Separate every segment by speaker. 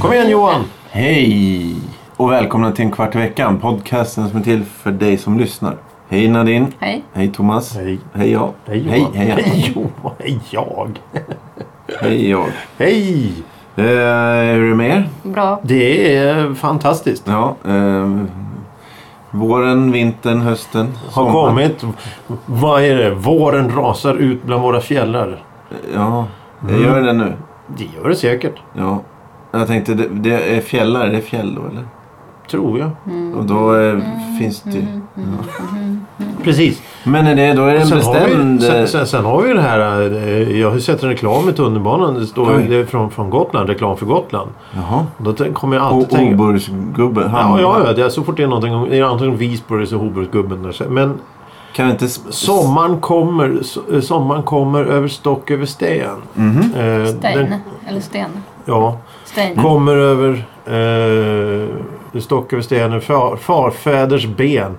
Speaker 1: Kom igen Johan! Hej! Och välkomna till en kvart i veckan. Podcasten som är till för dig som lyssnar. Hej Nadine!
Speaker 2: Hej.
Speaker 1: Hej Thomas!
Speaker 3: Hej.
Speaker 1: Hej jag!
Speaker 3: Hej
Speaker 1: Hej
Speaker 3: Johan.
Speaker 1: hej.
Speaker 3: Hej Johan. Hej jag.
Speaker 1: Hej jag!
Speaker 3: Hej!
Speaker 1: Eh, hur är det med er?
Speaker 2: Bra.
Speaker 3: Det är fantastiskt.
Speaker 1: Ja, eh, våren, vintern, hösten,
Speaker 3: Har
Speaker 1: sommaren.
Speaker 3: kommit. Vad är det? Våren rasar ut bland våra fjällar.
Speaker 1: Ja,
Speaker 3: Mm.
Speaker 1: jag gör det nu.
Speaker 3: Det gör det säkert.
Speaker 1: Ja. Jag tänkte, det, det är fjällar, det är fjäll då eller?
Speaker 3: Tror jag.
Speaker 1: Och då eh, finns det ju-
Speaker 3: Precis.
Speaker 1: Men är det, då är det en
Speaker 3: Sen har, vi,
Speaker 1: bestämd... eh,
Speaker 3: sen, sen, sen har vi det här. eh, Jag har ju sett en reklam i tunnelbanan. Det står
Speaker 1: Oj.
Speaker 3: det är från, från Gotland. Reklam för Gotland.
Speaker 1: Jaha.
Speaker 3: Då tän- kommer jag alltid
Speaker 1: Och
Speaker 3: tänka.
Speaker 1: Oburgsgubbe.
Speaker 3: Ja,
Speaker 1: han-
Speaker 3: ja, ja. Det är så fort det är någonting. om- Det är antingen Visby eller Hoburgsgubben. där. Men
Speaker 1: Kan vi inte... s-
Speaker 3: Sommaren kommer, so- eh, sommaren kommer över stock över sten. Eh,
Speaker 2: Stein.
Speaker 3: den-
Speaker 2: Eller sten.
Speaker 3: ja,
Speaker 2: Stein.
Speaker 3: kommer över eh, stock över sten, över far, farfäders ben.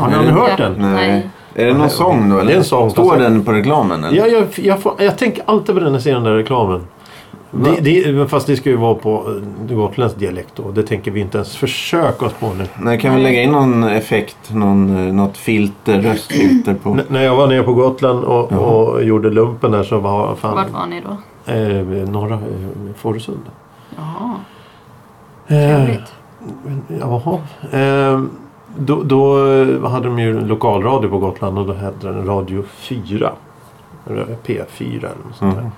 Speaker 3: Har ni aldrig hört den?
Speaker 1: Nej.
Speaker 2: Nej.
Speaker 1: Är det någon sång då? Eller?
Speaker 3: Det är en sång,
Speaker 1: Står
Speaker 3: fast-
Speaker 1: den på reklamen? Eller?
Speaker 3: Ja, jag, jag, får, jag tänker alltid på den när jag ser den där reklamen.
Speaker 1: Va?
Speaker 3: Det, det, men fast det ska ju vara på eh, gotländsk dialekt då. Det tänker vi inte ens försöka oss på nu.
Speaker 1: Nej, kan vi lägga in någon effekt? Någon, eh, något filter, röstfilter på?
Speaker 3: N- när jag var nere på Gotland och, och gjorde lumpen där så var fan...
Speaker 2: Vart var ni då?
Speaker 3: Eh, norra eh, Fårösund.
Speaker 2: Jaha.
Speaker 3: Eh,
Speaker 2: Trevligt.
Speaker 3: Jaha. Ehm, då, då hade de ju lokalradio på Gotland och då hette den Radio 4. Eller P4 eller något sånt
Speaker 2: Mm.
Speaker 3: där.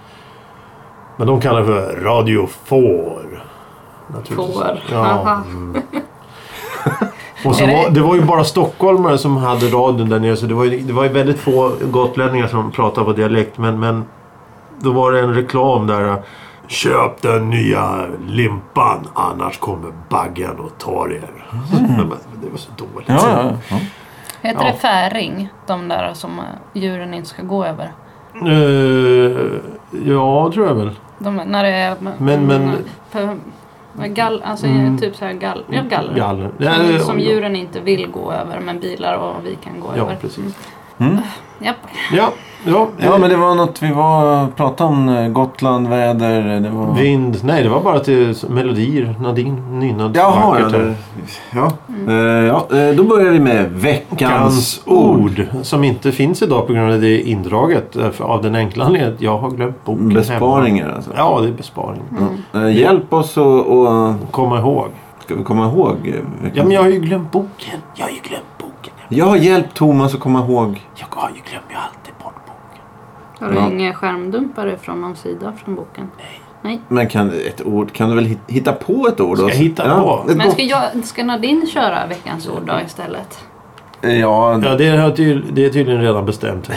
Speaker 3: Men de kallar det för Radio Får. Naturligtvis.
Speaker 2: Får.
Speaker 3: Ja. Mm.
Speaker 2: Haha.
Speaker 3: Och så
Speaker 2: Är det-
Speaker 3: var, det var ju bara stockholmare som hade radion där nere så det var ju, det var ju väldigt få gotlänningar som pratade på dialekt. Men, men då var det en reklam där. Köp den nya limpan annars kommer baggen och tar er. Men Det var så dåligt.
Speaker 1: Mm. Ja, ja.
Speaker 2: Heter
Speaker 3: Ja.
Speaker 2: det färing? De där som eh, djuren inte ska gå över.
Speaker 3: Eh, ja, tror jag väl.
Speaker 2: De, när det är...
Speaker 3: Men- men-
Speaker 2: p- Gall, alltså
Speaker 3: Mm.
Speaker 2: typ så här gall, ja, galler.
Speaker 3: Galler.
Speaker 2: Som,
Speaker 3: Ja,
Speaker 2: som
Speaker 3: ja,
Speaker 2: djuren inte vill gå över men bilar och vi kan gå
Speaker 3: Ja,
Speaker 2: över. Mm.
Speaker 3: precis.
Speaker 2: Japp.
Speaker 3: Ja, ja,
Speaker 1: ja, men det var något vi var, pratade om. eh, Gotland, väder. Det var...
Speaker 3: Vind. Nej, det var bara till melodier. Nadine nynnade så
Speaker 1: Jaha, ja,
Speaker 3: vackert här.
Speaker 1: det, ja.
Speaker 2: Mm.
Speaker 1: Eh, ja, eh, då börjar vi med veckans
Speaker 3: Veckans
Speaker 1: ord.
Speaker 3: ord som inte finns idag på grund av att det är indraget eh, för- av den enkla anledningen att jag har glömt
Speaker 1: Mm,
Speaker 3: boken hemma.
Speaker 1: Besparingar alltså.
Speaker 3: Ja, det är besparing.
Speaker 2: Mm.
Speaker 1: Eh, hjälp oss att och,
Speaker 3: Komma ihåg.
Speaker 1: ska vi komma ihåg. eh, veckans-
Speaker 3: Ja, men jag har ju glömt boken. Jag har ju glömt boken.
Speaker 1: Jag har hjälpt Thomas att komma ihåg.
Speaker 3: Jag har ju glömt, jag har alltid bort boken.
Speaker 2: Har du
Speaker 1: Ja.
Speaker 2: inga skärmdumpare från någon sida från boken? Nej. Nej.
Speaker 1: Men kan, ett ord, kan du väl hit- hitta på ett ord?
Speaker 3: Ska jag
Speaker 1: då?
Speaker 3: hitta på?
Speaker 1: ett
Speaker 2: Men
Speaker 1: gott-
Speaker 2: ska, jag, ska Nadine köra veckans ord då istället?
Speaker 1: Ja,
Speaker 3: Ja, det är, ty- det är tydligen redan bestämt.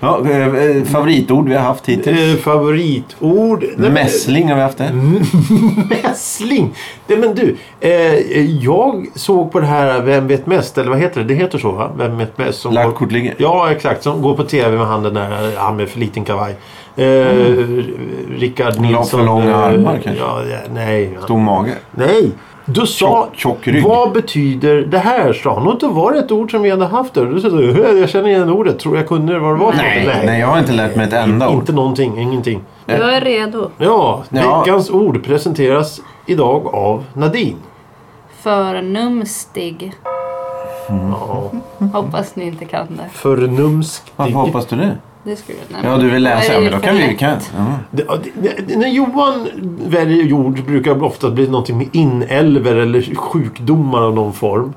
Speaker 1: ja, eh, eh, favoritord vi har haft hittills.
Speaker 3: Eh, Favoritord? Nej,
Speaker 1: Eh,
Speaker 3: men-
Speaker 1: Mässling har vi haft det.
Speaker 3: Mässling! Nej men du, eh, jag såg på det här Vem vet mest? Eller vad heter det? Det heter så va? Vem vet mest? Som
Speaker 1: Lagt
Speaker 3: går-
Speaker 1: kort ligger.
Speaker 3: Ja exakt, som går på tv med handen där. Han med för liten kavaj. Eh, Rickard
Speaker 1: Lång-
Speaker 3: Nilsson.
Speaker 1: för långa
Speaker 3: eh,
Speaker 1: armar kanske?
Speaker 3: Ja, ja, nej.
Speaker 1: Stor mage.
Speaker 3: Nej! Du sa,
Speaker 1: Tjock- tjock rygg.
Speaker 3: vad betyder det här? Sa han. Och inte var det ett ord som vi hade haft där. Du sa, "Hö, jag känner igen ordet. Tror jag kunde vad det var för
Speaker 1: Nej,
Speaker 3: något."
Speaker 1: nej, jag har inte lärt mig ett enda ord.
Speaker 3: Inte någonting, ingenting.
Speaker 2: Jag är redo.
Speaker 3: Ja,
Speaker 1: Ja.
Speaker 3: veckans ord presenteras idag av Nadine.
Speaker 2: Förnumstig.
Speaker 1: Mm.
Speaker 3: Ja,
Speaker 2: Hoppas ni inte kan det.
Speaker 3: förnumstig.
Speaker 1: Varför hoppas du det?
Speaker 2: Det skulle jag
Speaker 1: Ja, du vill läsa. Ja, Men då kan vi...
Speaker 2: ju
Speaker 1: Kan. Ja.
Speaker 3: Det- ja, det- det- När Johan väljer ord brukar det ofta bli någonting med inälver eller sjukdomar av någon form.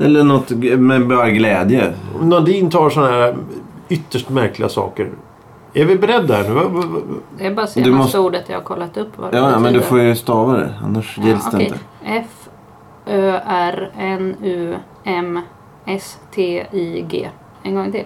Speaker 1: Eller något g- med bara glädje.
Speaker 3: Nadine tar sådana här ytterst märkliga saker. Är vi beredda här nu? Va- va- va-
Speaker 2: Det är bara
Speaker 1: Du
Speaker 2: senaste
Speaker 1: måste-
Speaker 2: ordet jag har kollat upp vad det
Speaker 1: Ja, ja, men du
Speaker 2: betyder.
Speaker 1: får ju stava det. Annars gills det
Speaker 2: okej.
Speaker 1: inte.
Speaker 2: F Ö R N U M S T I G. En gång till.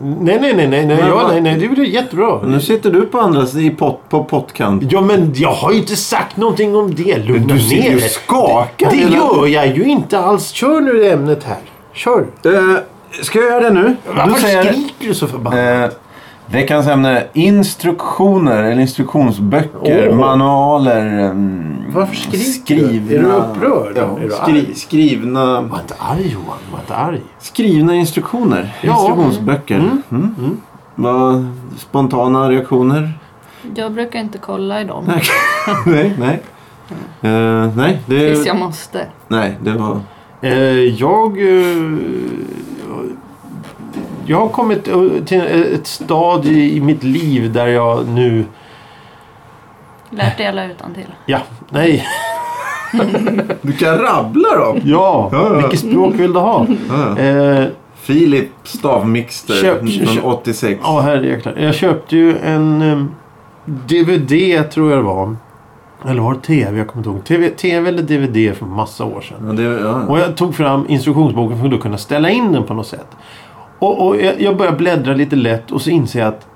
Speaker 3: Nej, nej, nej, nej, nej,
Speaker 1: Men
Speaker 3: ja,
Speaker 1: vad-
Speaker 3: nej, nej, det är väl
Speaker 1: Och
Speaker 3: jättebra.
Speaker 1: nu sitter du på andra sidan i pott, på pottkant.
Speaker 3: Ja, men jag har ju inte sagt någonting om det. Lugna
Speaker 1: Du sitter
Speaker 3: ner
Speaker 1: ju och
Speaker 3: dig.
Speaker 1: skakar.
Speaker 3: Det
Speaker 1: hela-
Speaker 3: gör jag ju inte alls. Kör nu ämnet här. Kör.
Speaker 1: Eh, Ska jag göra det nu?
Speaker 3: Varför
Speaker 1: säger-
Speaker 3: skriker du så förbannat?
Speaker 1: Eh, Veckans ämne, instruktioner eller instruktionsböcker,
Speaker 4: Åh.
Speaker 1: manualer. mm,
Speaker 4: Varför skriker du?
Speaker 1: skrivna,
Speaker 4: Är du upprörd?
Speaker 1: Ja,
Speaker 4: Är du
Speaker 1: skri,
Speaker 4: arg?
Speaker 1: skrivna,
Speaker 3: Var inte arg Johan, var inte arg.
Speaker 1: skrivna instruktioner.
Speaker 3: Ja.
Speaker 1: Instruktionsböcker. Mm. Vad- spontana reaktioner?
Speaker 2: Jag brukar inte kolla i dem.
Speaker 1: Nej. nej, nej. Eh, nej,
Speaker 2: Tills
Speaker 1: det,
Speaker 2: jag måste.
Speaker 1: nej, det var...
Speaker 3: Eh, jag... Eh, jag har kommit eh, till ett stadie i mitt liv där jag nu...
Speaker 2: Lärt dig alla utan till.
Speaker 3: Ja, nej,
Speaker 1: Du kan rabbla dem!
Speaker 3: ja.
Speaker 1: Ja, ja.
Speaker 3: Vilket språk vill du ha? Eh,
Speaker 1: Filip Stavmixter
Speaker 3: Köp- köp-
Speaker 1: från 86.
Speaker 3: Ja, herrejäklar. Jag köpte ju en eh, DVD tror jag det var. Eller var det TV? Jag kommer inte ihåg. TV, TV eller DVD för massa år sedan.
Speaker 1: Ja, det, ja.
Speaker 3: Och jag tog fram instruktionsboken för att kunna ställa in den på något sätt. Och, och jag, jag börjar bläddra lite lätt och så inser jag att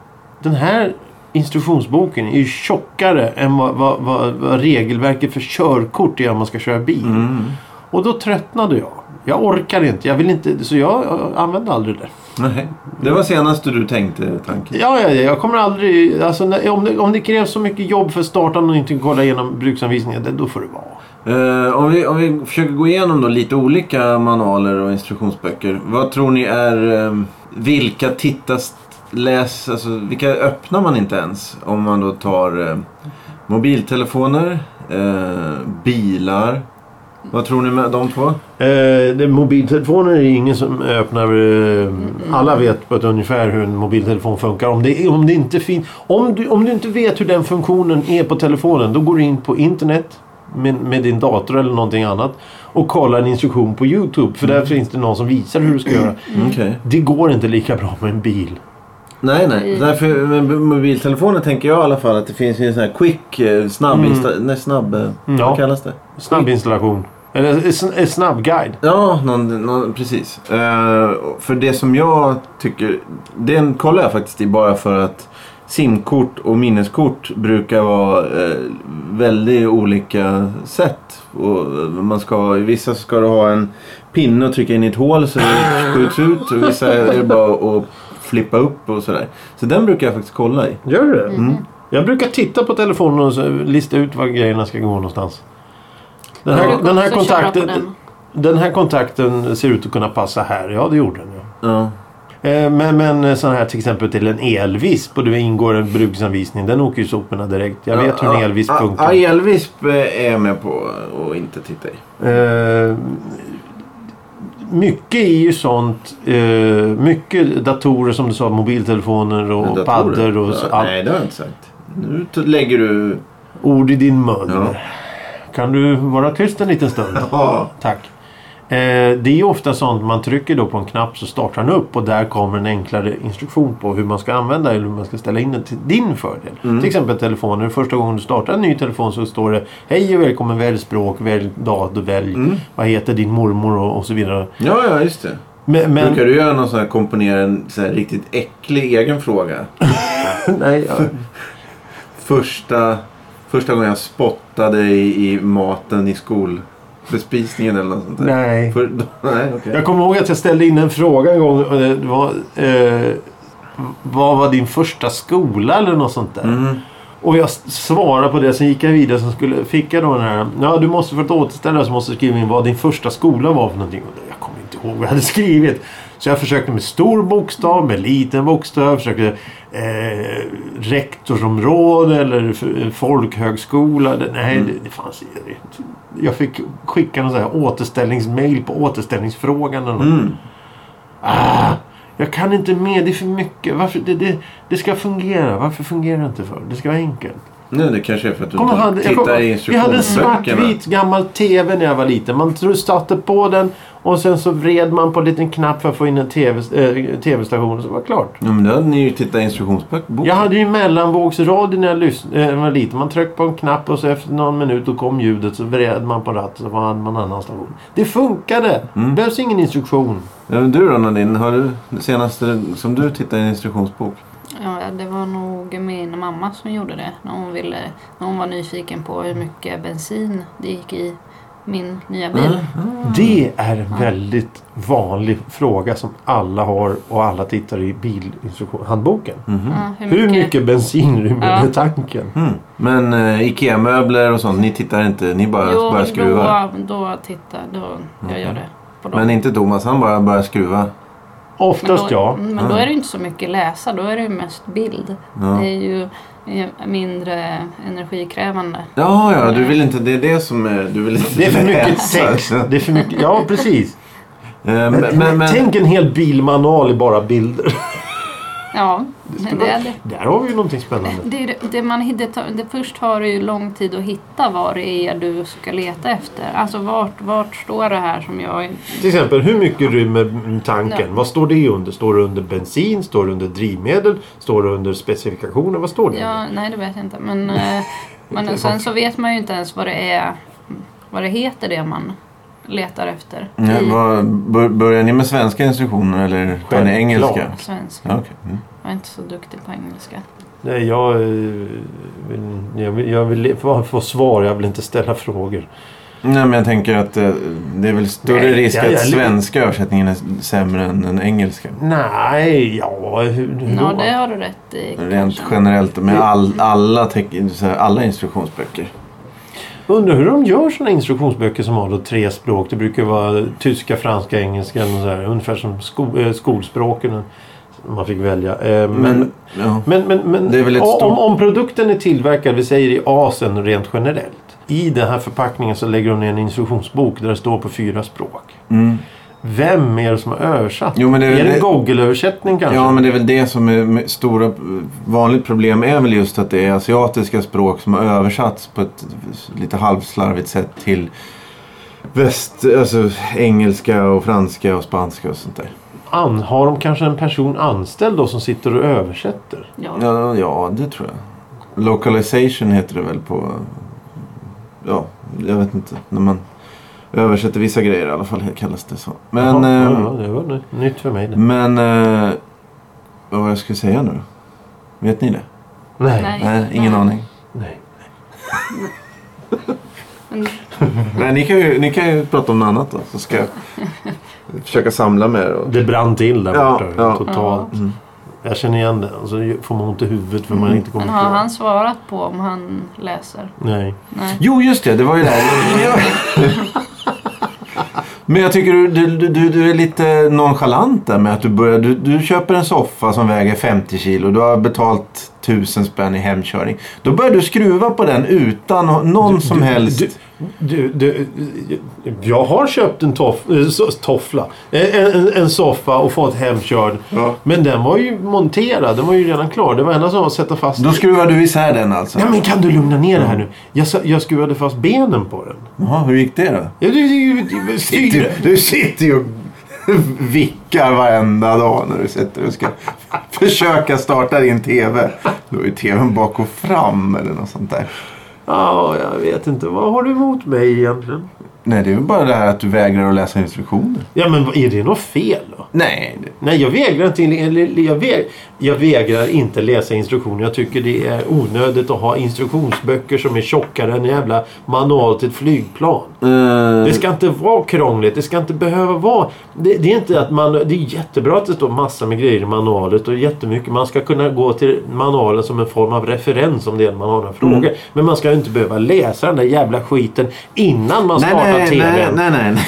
Speaker 3: den här instruktionsboken är ju tjockare än vad, vad, vad, vad regelverket för körkort är om man ska köra bil.
Speaker 1: Mm.
Speaker 3: Och då tröttnade jag. Jag orkar inte. Jag vill inte. Så jag, jag använde aldrig det.
Speaker 1: Nej, det var senaste du tänkte tanken.
Speaker 3: Ja, ja, ja, jag kommer aldrig... Alltså, när, om, det, om det krävs så mycket jobb för startaren och inte kolla igenom bruksanvisningen, det, då får det vara.
Speaker 1: Eh, om, vi, om vi försöker gå igenom då lite olika manualer och instruktionsböcker. Vad tror ni är eh, vilka tittas läs, alltså vilka öppnar man inte ens? Om man då tar eh, mobiltelefoner, eh, bilar. Vad tror ni med de två?
Speaker 3: Eh, det, mobiltelefoner är ingen som öppnar... Eh, alla vet på ett ungefär hur en mobiltelefon funkar. Om, det, är- om, det inte fin, om, du, om du inte vet hur den funktionen är på telefonen, då går du in på internet med, med din dator eller någonting annat och kollar en instruktion på Youtube. För där finns det någon som visar hur du ska göra.
Speaker 1: Mm. Okej.
Speaker 3: Det går inte lika bra med en bil.
Speaker 1: Nej, nej.
Speaker 2: Mm.
Speaker 1: Därför med mobiltelefoner tänker jag i alla fall att det finns ju en sån här quick, eh, snabb, insta- nej, snabb, eh,
Speaker 3: Ja.
Speaker 1: vad kallas det?
Speaker 3: Snabb installation. Eller en sn- en snabb guide.
Speaker 1: Ja, någon, någon, precis. Eh, för det som jag tycker... Den kollar jag faktiskt i bara för att simkort och minneskort brukar vara eh, väldigt olika sätt. Och man ska, ha- I vissa ska du ha en pinne och trycka in i ett hål så det skjuts ut. Och vissa är det bara att flippa upp och sådär. Så den brukar jag faktiskt kolla i.
Speaker 3: Gör du det?
Speaker 1: Mm.
Speaker 3: Jag brukar titta på telefonen och så lista ut var grejerna ska gå någonstans. Den
Speaker 2: Du
Speaker 3: här,
Speaker 2: brukar
Speaker 3: den här,
Speaker 2: också köra
Speaker 3: kontakten,
Speaker 2: på
Speaker 3: den.
Speaker 2: den.
Speaker 3: här kontakten ser ut att kunna passa här. Ja, det gjorde den. Ja.
Speaker 1: Ja.
Speaker 3: Eh, Men, men sån här till exempel till en elvisp och det ingår en bruksanvisning. Den åker ju soporna direkt. Jag vet hur en elvisp
Speaker 1: Ja, Ah,
Speaker 3: funkar.
Speaker 1: Ja, elvisp eh, är jag med på att inte titta i.
Speaker 3: Eh, mycket är ju sånt. Eh, mycket datorer som du sa. Mobiltelefoner och
Speaker 1: Datorer.
Speaker 3: paddor och så,
Speaker 1: Ja,
Speaker 3: allt.
Speaker 1: Nej, det har jag inte sagt. Nu t- lägger du...
Speaker 3: Ord i din mun.
Speaker 1: Ja.
Speaker 3: Kan du vara tyst en liten stund?
Speaker 1: Ja.
Speaker 3: Tack. Eh, det är ju ofta sånt man trycker då på en knapp så startar den upp och där kommer en enklare instruktion på hur man ska använda eller hur man ska ställa in den till din fördel.
Speaker 1: Mm.
Speaker 3: Till exempel telefoner. Första gången du startar en ny telefon så står det Hej och välkommen, välj språk, välj dag, välj
Speaker 1: Mm.
Speaker 3: vad heter din mormor och, och så vidare.
Speaker 1: Ja, ja, just det.
Speaker 3: Men, men,
Speaker 1: Brukar du göra någon sån här komponera en sån här riktigt äcklig egen fråga?
Speaker 3: nej, ja.
Speaker 1: Första, första gången jag spottade i, i maten i skolbespisningen eller något sånt där.
Speaker 3: nej.
Speaker 1: För, nej, okej.
Speaker 3: Jag kommer ihåg att jag ställde in en fråga en gång. Och det var, eh, vad var din första skola eller något sånt där?
Speaker 1: Mm.
Speaker 3: Och jag s- svarade på det. Sen gick jag vidare. Sen skulle, fick jag då den här. Ja, du måste för att återställa så måste du skriva in vad din första skola var för någonting. Och jag kommer inte ihåg vad jag hade skrivit. Så jag försökte med stor bokstav, med liten bokstav. Jag försökte eh, rektorsområde eller f- folkhögskola. Det- Nej, det, det fanns inte. Jag fick skicka någon sån här återställningsmail på återställningsfrågan. Eller något.
Speaker 1: Mm.
Speaker 3: Ah, jag kan inte med, det är för mycket. Varför, det, det, det ska fungera. Varför fungerar det inte för? Det ska vara enkelt.
Speaker 1: Nu, det kanske är för att du
Speaker 3: Kommer
Speaker 1: inte
Speaker 3: han, jag
Speaker 1: tittar
Speaker 3: kommer,
Speaker 1: i
Speaker 3: vi hade en
Speaker 1: instruktionsböckerna.
Speaker 3: svartvit gammal TV när jag var liten. Man tro- satte på den och sen så vred man på en liten knapp för att få in en TV, eh, tv-station och så var det klart.
Speaker 1: Ja, men då hade ni ju tittat i instruktionsboken.
Speaker 3: Jag hade ju mellanvågsradio när jag lyssn- eh, var liten. Man tryckte på en knapp och så efter någon minut då kom ljudet så vred man på ratten så var man en annan station. Det funkade!
Speaker 1: Mm.
Speaker 3: Det behövs ingen instruktion.
Speaker 1: Ja, men Du då, Nadine? Har du det senaste som du tittar i en instruktionsbok?
Speaker 2: Ja, det var nog min mamma som gjorde det. När hon, ville, när hon var nyfiken på hur mycket bensin det gick i min nya
Speaker 1: Mm.
Speaker 2: bil.
Speaker 3: Det är en väldigt vanlig fråga som alla har och alla tittar i bilinstruktionshandboken.
Speaker 1: Mhm.
Speaker 2: Ja,
Speaker 3: Hur mycket bensin rymmer
Speaker 2: Ja.
Speaker 3: den i tanken?
Speaker 1: Mm. Men eh, Ikea-möbler och sånt, ni tittar inte, ni bara
Speaker 2: Jo,
Speaker 1: börjar skruva.
Speaker 2: Då, då titta, då, jag gör det på dem.
Speaker 1: Men inte Thomas, han bara börjar skruva.
Speaker 2: Men
Speaker 3: Oftast
Speaker 2: då,
Speaker 3: ja.
Speaker 2: Men då är det ju inte så mycket läsa, då är det ju mest bild. Det är ju eh, mindre energikrävande.
Speaker 1: Ja, ja, du vill inte, det är det som är, du vill inte
Speaker 3: Det är för mycket
Speaker 1: läsa. alltså.
Speaker 3: sex. Det är för mycket, ja, precis.
Speaker 1: Eh, Men, men, men,
Speaker 3: Tänk en hel bilmanual i bara bilder.
Speaker 2: Ja, men det är det.
Speaker 3: Där har vi ju någonting spännande.
Speaker 2: Det, är det- det man, hit- det, tar- det först tar det ju lång tid att hitta vad det är du ska leta efter. Alltså vart, vart står det här som jag...
Speaker 3: Till exempel, hur mycket rymmer tanken?
Speaker 2: Ja.
Speaker 3: Vad står det under? Står det under bensin? Står det under drivmedel? Står det under specifikationer? Vad står det under?
Speaker 2: Ja, nej det vet jag inte. Men, eh, men sen så vet man ju inte ens vad det är, vad det heter det man letar efter.
Speaker 3: Mm.
Speaker 1: Nej, eh, vad, bör- börjar ni med svenska instruktioner eller tar ni
Speaker 3: Självklart.
Speaker 1: engelska?
Speaker 2: Svensk.
Speaker 1: Ja, okej. Mm.
Speaker 2: Jag är inte så duktig på engelska.
Speaker 3: Nej, jag, eh, vill, jag, vill, jag vill få- få svar. Jag vill inte ställa frågor.
Speaker 1: Nej, men jag tänker att eh, det är väl större
Speaker 3: Nej,
Speaker 1: risk
Speaker 3: jag- jag-
Speaker 1: att svenska översättningen är sämre än den engelska.
Speaker 3: Nej, ja, hur, hur
Speaker 2: Ja,
Speaker 3: Mm. då?
Speaker 2: det har du rätt i.
Speaker 1: Rent
Speaker 2: kanske.
Speaker 1: generellt med all, alla, teck- så här, alla instruktionsböcker.
Speaker 3: Undrar hur de gör sådana instruktionsböcker som har då tre språk. Det brukar ju vara tyska, franska, engelska. Och så här, ungefär som sko, eh, skolspråken. Man fick välja. Eh, men,
Speaker 1: Men, ja.
Speaker 3: Men, men, men
Speaker 1: Det är väl ett
Speaker 3: om,
Speaker 1: stort-
Speaker 3: om produkten är tillverkad, vi säger i Asien rent generellt. I den här förpackningen så lägger de ner en instruktionsbok där det står på fyra språk.
Speaker 1: Mm.
Speaker 3: Vem är det som har översatt?
Speaker 1: Jo, men det är
Speaker 3: är,
Speaker 1: väl
Speaker 3: det
Speaker 1: det-
Speaker 3: en Google-översättning kanske?
Speaker 1: ja, men det är väl det som är med- stora eh, vanligt problem är väl just att det är asiatiska språk som har översatts på ett lite halvslarvigt sätt till väst, alltså engelska och franska och spanska och sånt där.
Speaker 3: An, har de kanske en person anställd då som sitter och översätter?
Speaker 2: Ja.
Speaker 1: Ja, ja, det tror jag. Localization heter det väl på... Ja, jag vet inte. När man översätter vissa grejer i alla fall kallas det så. Men...
Speaker 3: Jaha,
Speaker 1: ehm,
Speaker 3: ja, ja, det var ny- nytt för mig. Det.
Speaker 1: Men... eh, Vad var jag skulle säga nu? Vet ni det?
Speaker 3: Nej.
Speaker 2: Nej.
Speaker 3: Nej.
Speaker 1: Nej, ingen
Speaker 2: Nej.
Speaker 1: aning.
Speaker 2: Men
Speaker 1: Nej, ni kan, ju, ni kan ju prata om något annat då. Så ska jag försöka samla med er. Och...
Speaker 3: Det brann till där
Speaker 1: Ja,
Speaker 3: borta.
Speaker 1: ja.
Speaker 3: Totalt.
Speaker 1: Mm.
Speaker 3: Jag känner igen det. Alltså, får man ont i huvudet för man inte kommer
Speaker 2: Men har han svarat på om han läser?
Speaker 3: Nej.
Speaker 2: Nej.
Speaker 1: Jo, just det. Det var ju det här. Men jag tycker du, du, du, du är lite nonchalant där med att du börjar. Du, du köper en soffa som väger 50 kilo. Du har betalt 1000 spänn i hemkörning. Då börjar du skruva på den utan nå- någon som
Speaker 3: Du-
Speaker 1: helst.
Speaker 3: Du, du, du, jag har köpt en toff, eh, so- toffla. Eh, En, en, en soffa och fått hemkörd.
Speaker 1: Ja.
Speaker 3: Men den var ju monterad. Den var ju redan klar. Det var enda som var att sätta fast
Speaker 1: Då skruvar du isär den alltså?
Speaker 3: Nej men kan du lugna ner det här nu? Jag, sa- jag skruvade fast benen på den.
Speaker 1: Jaha, hur gick det då?
Speaker 3: Jag, du, du, du,
Speaker 1: Du,
Speaker 3: styr.
Speaker 1: du sitter ju och vickar varenda dag när du sitter och ska försöka starta din TV. Då är TVn bak och fram eller något sånt där.
Speaker 3: Ja, jag vet inte. Vad har du emot mig egentligen?
Speaker 1: Nej, det är väl bara det här att du vägrar att läsa instruktioner.
Speaker 3: Ja men vad- är det något fel då?
Speaker 1: Nej, det-
Speaker 3: Nej, jag vägrar inte. eller Jag, väg, jag vägrar inte läsa instruktioner. Jag tycker det är onödigt att ha instruktionsböcker som är tjockare än en jävla manual till ett flygplan.
Speaker 1: Eh,
Speaker 3: Det ska inte vara krångligt. Det ska inte behöva vara... Det, det är inte att man... Det är jättebra att det står massa med grejer i manualet och jättemycket. Man ska kunna gå till manualen som en form av referens om det är man har några
Speaker 1: Mm.
Speaker 3: frågor. Men man ska ju inte behöva läsa den där jävla skiten innan man
Speaker 1: nej,
Speaker 3: startar
Speaker 1: nej,
Speaker 3: TVn.
Speaker 1: nej, nej, nej, nej.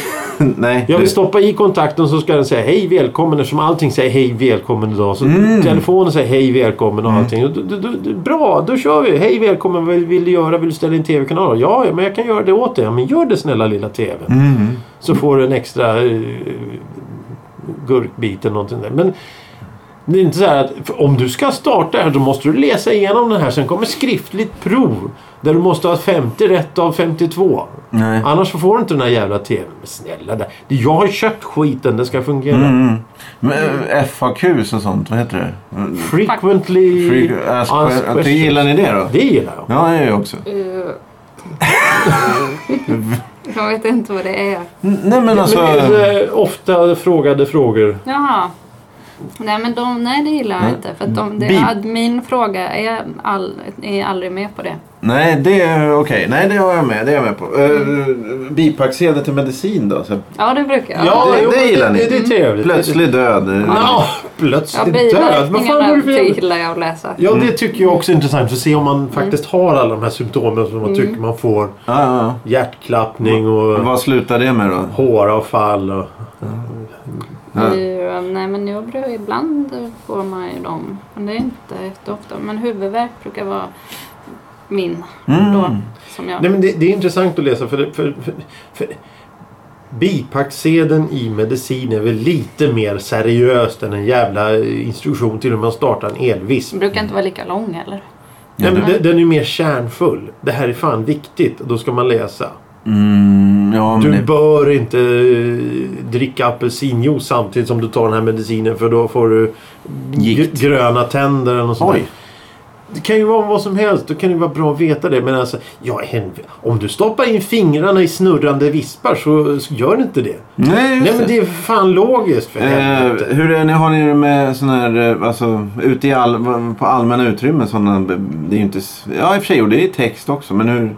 Speaker 1: nej.
Speaker 3: Jag
Speaker 1: du-
Speaker 3: vill stoppa i kontakten så ska den säga hej välkommen eftersom allting säger hej välkommen idag. Så telefonen säger hej välkommen och allting. Och du- du- du- du- bra, då kör vi. Hej välkommen, vad vill du göra? Vill du ställa in tv-kanal? Ja, ja, men jag kan göra det åt dig. Ja, men gör det snälla lilla tv.
Speaker 1: Mm.
Speaker 3: Så får du en extra eh, gurkbit eller någonting där. Men det är inte så här att för om du ska starta här då måste du läsa igenom den här. Sen kommer skriftligt prov. Där du måste ha 50 rätt av 52.
Speaker 1: Nej.
Speaker 3: Annars så får du inte den här jävla tvn. Men snälla där. Det- Jag har köpt skiten. Den ska fungera.
Speaker 1: Mm. Men, eh, FAQs och sånt, vad heter det? Mm,
Speaker 3: Frequently
Speaker 1: Freak- ask que- äh, att du Gillar ni det då?
Speaker 3: Det gillar jag.
Speaker 1: Ja, det gör jag också.
Speaker 2: jag vet inte vad det är.
Speaker 1: Mm, Nej, men alltså...
Speaker 3: Men det är så här ofta frågade eh, frågor.
Speaker 2: Jaha. Nej, men de, nej det gillar jag
Speaker 3: Mm.
Speaker 1: Nej.
Speaker 2: inte. För att de, det,
Speaker 1: Bi-
Speaker 2: ad, min fråga är, all, är aldrig med på det.
Speaker 1: Nej, det är okej. Nej, det har jag med. Det är jag med på. Uh, bipacksedel till medicin då? Så
Speaker 2: Ja, det brukar jag.
Speaker 1: Ja, det-
Speaker 3: jo,
Speaker 1: det
Speaker 3: men
Speaker 1: gillar ni.
Speaker 3: Det, det är trevligt.
Speaker 1: plötslig död.
Speaker 3: Ja,
Speaker 2: ja
Speaker 3: plötsligt död. Vad fan var det
Speaker 2: biverkningarna
Speaker 3: för
Speaker 2: det
Speaker 3: jävla-
Speaker 2: gillar jag att läsa.
Speaker 3: Ja, det tycker jag också är intressant. För att se om man faktiskt har alla de här symptomen som man tycker man får.
Speaker 1: Ja, ja,
Speaker 3: Hjärtklappning och
Speaker 1: ja. Vad slutar det med då?
Speaker 3: håravfall. Och...
Speaker 1: Ja.
Speaker 2: Nu, nej, men jag brukar, ibland får man ju dem. Men det är inte jätteofta. Men huvudvärk brukar vara min.
Speaker 3: Mm.
Speaker 2: Då, som jag.
Speaker 3: Nej, men det, det är intressant att läsa. För, det- för, för, för... Bipacksedeln i medicin är väl lite mer seriöst än en jävla instruktion till hur man startar en elvisp.
Speaker 2: Den brukar inte vara lika lång heller.
Speaker 3: Nej, men
Speaker 1: det-
Speaker 3: den, den är ju mer kärnfull. Det här är fan viktigt och då ska man läsa.
Speaker 1: Mm, ja, men
Speaker 3: Du
Speaker 1: det...
Speaker 3: bör inte eh, dricka apelsinjuice samtidigt som du tar den här medicinen för då får du
Speaker 1: Gikt.
Speaker 3: gr- gröna tänder eller något sånt där.
Speaker 1: Oj.
Speaker 3: Det kan ju vara vad som helst. Då kan det vara bra att veta det. Men alltså, ja, helv- om du stoppar in fingrarna i snurrande vispar så, så gör inte det.
Speaker 1: Nej, just
Speaker 3: Nej men det är fan logiskt för helvete.
Speaker 1: Eh, hur är, ni- har ni det med sån här, eh, alltså ute i all, på allmänna utrymmen sådana, det är ju inte, s- ja i och för sig, och det är text också, men hur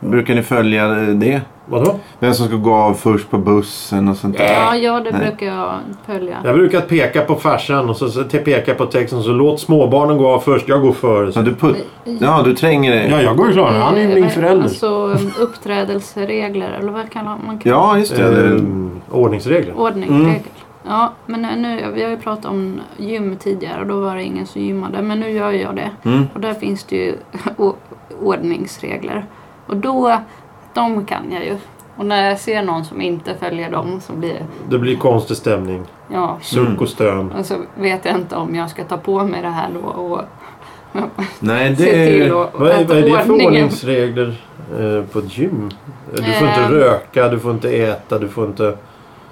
Speaker 1: brukar ni följa eh, det?
Speaker 3: Vadå?
Speaker 1: Vem som ska gå av först på bussen och
Speaker 3: Äh.
Speaker 1: sånt där?
Speaker 2: Ja, ja det
Speaker 1: Nej.
Speaker 2: brukar jag följa.
Speaker 3: Jag brukar peka på farsan och så, så te- peka på texten så låt småbarnen gå av först. Jag går före.
Speaker 1: Ja,
Speaker 3: Så.
Speaker 1: du put, ja, du tränger dig?
Speaker 3: Ja, jag går ju klar. Han är ju
Speaker 2: Eh,
Speaker 3: min förälder.
Speaker 2: Alltså uppträdelseregler eller vad kallar man kan
Speaker 1: Ja, just det.
Speaker 3: Eh,
Speaker 1: det-
Speaker 3: ordningsregler.
Speaker 2: Ordning,
Speaker 1: Mm.
Speaker 2: regel. Ja, men nu, vi har ju pratat om gym tidigare och då var det ingen som gymmade. Men nu gör jag det.
Speaker 1: Mm.
Speaker 2: Och där finns det ju o- ordningsregler. Och då, de kan jag ju. Och när jag ser någon som inte följer dem så blir det,
Speaker 3: Det blir konstig stämning.
Speaker 2: ja.
Speaker 3: Suck och stön.
Speaker 2: Och så vet jag inte om jag ska ta på mig det här då och
Speaker 1: Nej,
Speaker 2: se
Speaker 1: det
Speaker 2: till
Speaker 1: är...
Speaker 2: och
Speaker 3: Vad är,
Speaker 2: att
Speaker 3: vad är det för
Speaker 2: ordningen-
Speaker 3: ordningsregler eh, på ett gym? Du får inte
Speaker 2: Eh.
Speaker 3: röka, du får inte äta, du får inte...